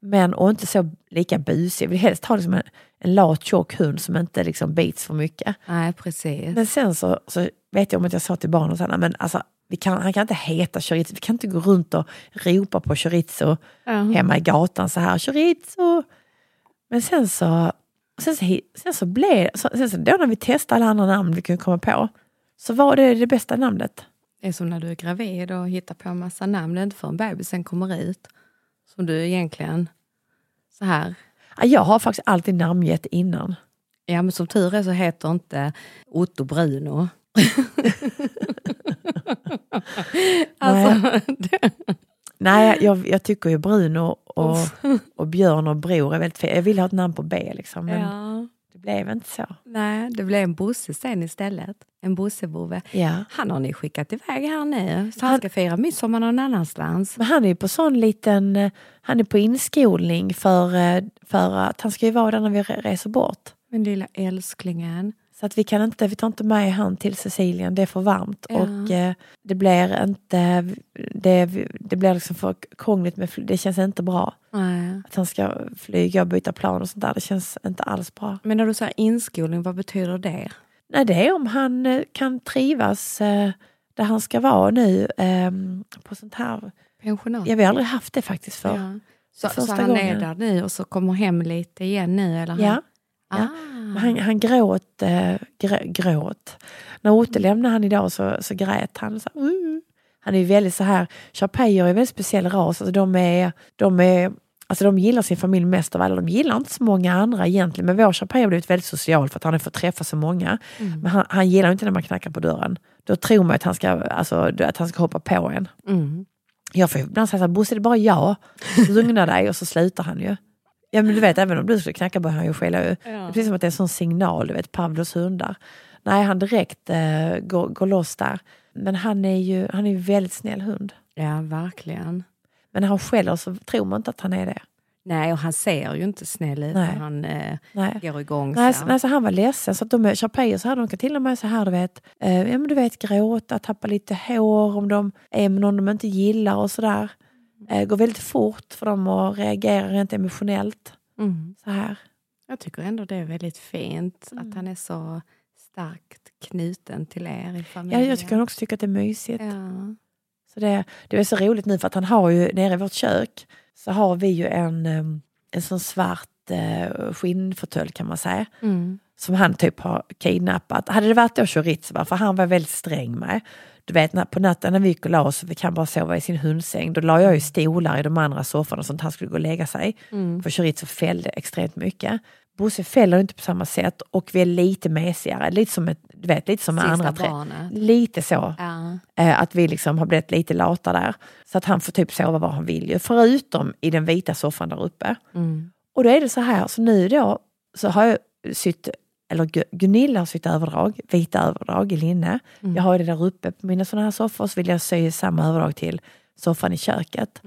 S2: Men, och inte så lika busig. Jag vill helst ha liksom en, en lat tjock hund som inte liksom bits för mycket.
S1: Nej, precis.
S2: Men sen så, så vet jag om att jag sa till barnen så här, "Nej, men alltså, vi kan, han kan inte heta chorizo, vi kan inte gå runt och ropa på chorizo hemma i gatan så här, chorizo. Men sen så, sen så, hi- sen så blev så, sen så då när vi testade alla andra namn vi kunde komma på, så var det det bästa namnet.
S1: Det är som när du är gravid och hittar på en massa namn inte förrän bebisen kommer ut. Som du egentligen så här.
S2: Ja, Jag har faktiskt alltid namngett innan.
S1: Ja, men som tur är så heter inte Otto Bruno. alltså, det,
S2: Nej, jag, jag tycker ju Bruno och,
S1: Alltså.
S2: och Björn och Bror är väldigt fint. Jag ville ha ett namn på B liksom, men
S1: ja.
S2: det blev inte så.
S1: Nej, det blev en Bosse sen istället. En Bossebove.
S2: Ja.
S1: Han har ni skickat iväg här nu. Så han ska fira midsommar någon annanstans.
S2: Men han är ju på sån liten, eh, han är på inskolning för, eh, för att han ska ju vara där när vi re- reser bort.
S1: Men lilla älsklingen.
S2: Så att vi kan inte, vi tar inte med han till Sicilien, det är för varmt.
S1: Ja.
S2: Och eh, det blir inte, det, det blir liksom för krångligt med fly- det känns inte bra.
S1: Nej.
S2: Att han ska flyga och byta plan och sånt där, det känns inte alls bra.
S1: Men när du säger inskolning, vad betyder det?
S2: Nej, det är om han eh, kan trivas eh, där han ska vara nu eh, på sånt här.
S1: Pensionat.
S2: Ja, vi har aldrig haft det faktiskt för.
S1: Ja. Så, så
S2: första
S1: han
S2: gången.
S1: är där nu och så kommer hem lite igen nu? Eller han?
S2: Ja.
S1: Ah.
S2: Han, han gråt, eh, grä, gråt. När Otte lämnade han idag så, så grät han. Så, här, "Uh." Han är ju väldigt så här, Charpeyer är en väldigt speciell ras. Alltså de, är, de, är, alltså de gillar sin familj mest av alla. De gillar inte så många andra egentligen. Men vår Charpeyer har blivit väldigt social för att han har fått träffa så många.
S1: Mm.
S2: Men han, han gillar ju inte när man knackar på dörren. Då tror man att han ska, alltså, att han ska hoppa på en.
S1: Mm.
S2: Jag får ibland säga såhär, Bosse det är bara jag. Lugna dig och så slutar han ju. Ja men du vet, även om du skulle knacka börjar han ju skälla ju. Det är precis som att det är en sån signal, du vet, Pavlos hundar. Nej, han direkt eh, går, går loss där. Men han är ju han är ju väldigt snäll hund.
S1: ja, verkligen.
S2: Men när han skäller så tror man inte att han är det.
S1: Nej, och han ser ju inte snäll ut när
S2: Nej.
S1: han eh,
S2: Nej.
S1: går igång.
S2: Nej,
S1: så.
S2: så, nej, så han var ledsen. Så att de är Charpeyer så här, de kan till och med så här, du vet, eh, ja, men du vet gråta, tappa lite hår om de är med någon de inte gillar och sådär. Eh, går väldigt fort för dem att reagera rent emotionellt.
S1: Mm.
S2: Så här.
S1: Jag tycker ändå det är väldigt fint att han är så starkt knuten till er i
S2: Ja,
S1: familjen.
S2: jag tycker han också tycker att det är mysigt.
S1: Ja.
S2: Så det, det är så roligt nu för att han har ju nere i vårt kök så har vi ju en, eh, en sån svart eh, skinnfåtölj kan man säga.
S1: Mm.
S2: som han typ har kidnappat. Hade det varit då Chorizo, för han var väldigt sträng med. Du vet när- på natten när vi gick och la oss, vi kan bara sova i sin hundsäng, då la jag ju stolar i de andra sofforna så att han skulle gå och lägga sig.
S1: Mm.
S2: För Chorizo fällde extremt mycket. Bosse fäller inte på samma sätt och vi är lite mesigare, lite som, ett, du vet, lite som med
S1: Sista
S2: andra tre.
S1: barnet.
S2: Lite så.
S1: Ja.
S2: Eh, Att vi liksom har blivit lite lata där. Så att han får typ sova var han vill ju, förutom i den vita soffan där uppe.
S1: Mm.
S2: Och då är det så här, så nu då så har jag sytt, eller Gu- Gunilla har sytt överdrag, vita överdrag i linne. Jag har ju det där uppe på mina sådana här soffor, så vill jag sy samma överdrag till soffan i köket.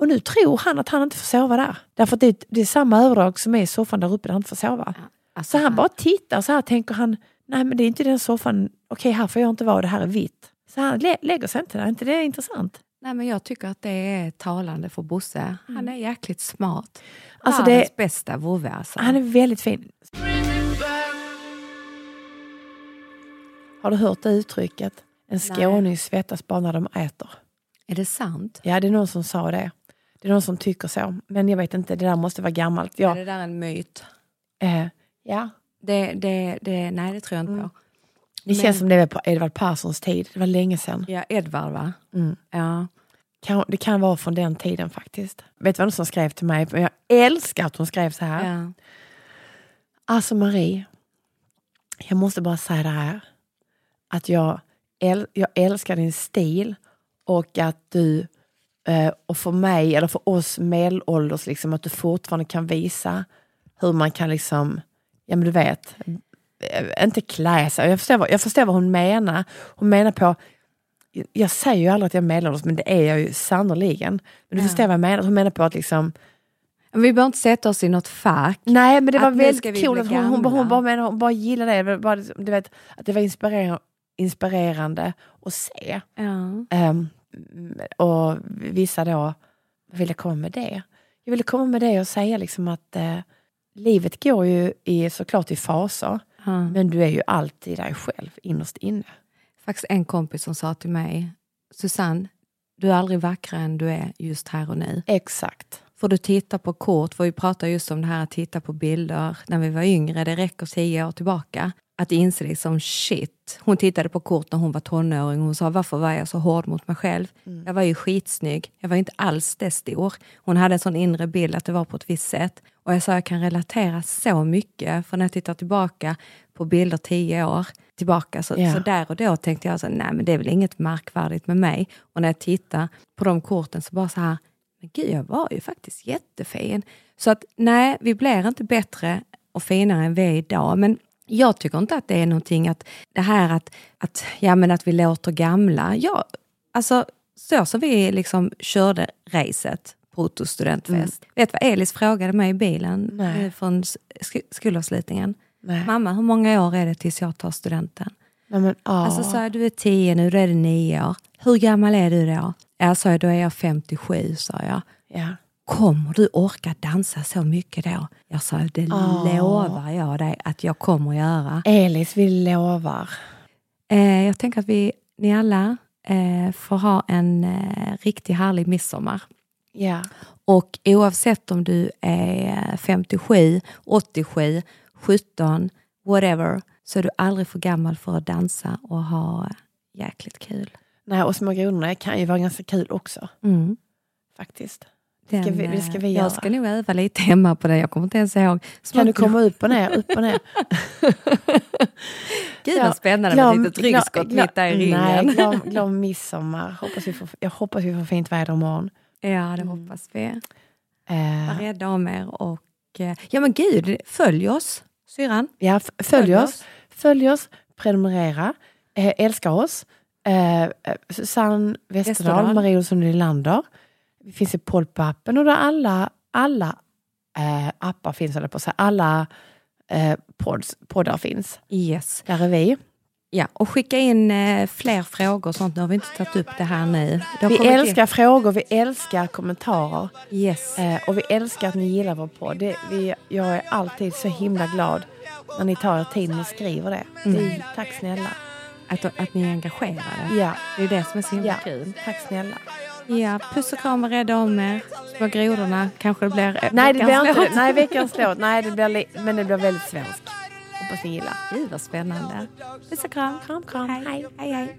S2: Och nu tror han att han inte får sova där. Därför att det, är- det är samma överdrag som är i soffan där uppe där han inte får sova.
S1: Alltså,
S2: Så han bara tittar så här tänker han, nej men det är inte den soffan, okej här får jag inte vara, det här är vitt. Så han lä- lägger sig inte där, inte det är intressant?
S1: Nej, men jag tycker att det är talande för Bosse. Han är jäkligt smart.
S2: Alltså, det-
S1: Världens bästa vovve alltså.
S2: Han är väldigt fin. Har du hört det uttrycket? En skåning svettas bara när de äter.
S1: Är det sant?
S2: Ja, det är någon som sa det. Det är någon som tycker så. Men jag vet inte, det där måste vara gammalt.
S1: Är
S2: Jag,
S1: det där en myt?
S2: eh, ja.
S1: Det, det, det, nej, det tror jag inte
S2: Mm.
S1: på.
S2: Det känns som det var på Edvard Perssons tid. Det var länge sedan.
S1: Ja, Edvard, va?
S2: Mm.
S1: Ja.
S2: Kan, det kan vara från den tiden faktiskt. Vet du vad någon som skrev till mig? Men Jag älskar att hon skrev så här.
S1: Ja.
S2: Alltså Marie, jag måste bara säga det här. Att jag, äl- jag älskar din stil och att du, eh, och för mig, eller för oss medelålders, liksom, att du fortfarande kan visa hur man kan liksom, ja men du vet, eh, inte klä sig. Jag förstår, vad, jag förstår vad hon menar. Hon menar på, jag säger ju aldrig att jag är medelålders, men det är jag ju sannerligen. Men du förstår vad jag menar. Hon menar på att liksom,
S1: Men vi behöver inte sätta oss i något fack.
S2: Nej, men det var
S1: Att nu ska
S2: väldigt
S1: vi
S2: kul
S1: bli
S2: att hon, hon, bara- hon,
S1: gamla.
S2: bara, men hon bara gillade det. det. var Bara, liksom, du vet, att det var inspirerande, inspirerande att se.
S1: Ja.
S2: Ehm, och vissa då ville komma med det. Jag ville komma med det och säga liksom att eh, livet går ju i, såklart i faser,
S1: Ja.
S2: men du är ju alltid dig själv innerst inne.
S1: faktiskt en kompis som sa till mig, Susanne, du är aldrig vackrare än du är just här och nu.
S2: Exakt.
S1: Får du titta på kort, för vi pratar just om det här att titta på bilder när vi var yngre, det räcker tio år tillbaka. Att inse liksom shit, hon tittade på kort när hon var tonåring hon sa varför var jag så hård mot mig själv? Jag var ju skitsnygg, jag var ju inte alls det stor. Hon hade en sån inre bild att det var på ett visst sätt. Och jag sa jag kan relatera så mycket, för när jag tittar tillbaka på bilder tio år tillbaka så,
S2: Ja.
S1: så där och då tänkte jag så, nej men det är väl inget märkvärdigt med mig. Och när jag tittar på de korten så bara så här, men gud jag var ju faktiskt jättefin. Så att nej, vi blir inte bättre och finare än vi är idag. Men jag tycker inte att det är någonting att det här att, att, ja, men att vi låter gamla. Ja, alltså så som vi liksom körde racet, Protos studentfest. Vet du vad Elis frågade mig i bilen
S2: Nej.
S1: eh, från sk- skolavslutningen?
S2: Nej.
S1: Mamma, hur många år är det tills jag tar studenten?
S2: Nej, men, ja.
S1: Alltså sa jag, du är 10 nu, då är det 9 år. Hur gammal är du då? Ja, sa jag, då är jag 57, sa jag.
S2: ja.
S1: Kommer du orka dansa så mycket då? Jag sa, det
S2: Åh.
S1: lovar jag dig att jag kommer göra.
S2: Elis, vi lovar.
S1: Eh, jag tänker att vi, ni alla eh, får ha en eh, riktigt härlig midsommar.
S2: Ja.
S1: Och oavsett om du är 57, 87, 17, whatever, så är du aldrig för gammal för att dansa och ha jäkligt kul.
S2: Nej, och Små grodorna kan ju vara ganska kul också,
S1: Mm.
S2: faktiskt. Det ska
S1: Den,
S2: vi, det ska vi
S1: eh,
S2: göra.
S1: Jag ska nog öva lite hemma på det. Jag kommer inte ens ihåg.
S2: Kan du komma upp och ner, upp och ner?
S1: Gud vad spännande med ett litet ryggskott mitt där i
S2: Nej,
S1: ringen.
S2: glöm, glöm midsommar. Hoppas vi får, jag hoppas vi får fint väder imorgon.
S1: Ja, det
S2: Mm.
S1: hoppas vi. Var
S2: Eh,
S1: rädda om er. Och, eh, ja men gud, följ oss, syrran.
S2: ja, f- följ oss, följ oss, prenumerera, eh, älska oss. Eh, eh, Susanne Westerdahl,
S1: Westerdahl.
S2: Marie Olsson Nylander. Vi finns i Podpappen och där alla, alla eh, appar finns, höll jag på att säga. Alla eh, pods, poddar finns.
S1: Yes.
S2: Där är vi.
S1: Ja, och skicka in eh, fler frågor och sånt. Nu har vi inte tagit upp det här nu. Det har
S2: Vi
S1: kommit in-
S2: älskar frågor, vi älskar kommentarer.
S1: Yes.
S2: Eh, och vi älskar att ni gillar vår podd. Det, vi, jag är alltid så himla glad när ni tar er tiden och skriver det.
S6: Mm.
S2: det är, tack snälla.
S1: Att, att ni är engagerade.
S2: Ja.
S1: Det är det som är så himla
S2: ja.
S1: kul.
S2: Tack snälla.
S1: Ja, puss och kram och rädda om er. Små grodorna kanske det blir... eh,
S2: Nej, det blir
S1: veckans
S2: inte,
S1: låt.
S2: nej veckans låt. Nej, det blir, li- men det blir väldigt svensk. Hoppas ni gillar.
S1: Gud vad spännande. Puss och kram.
S2: Kram, kram.
S1: Hej, hej. hej.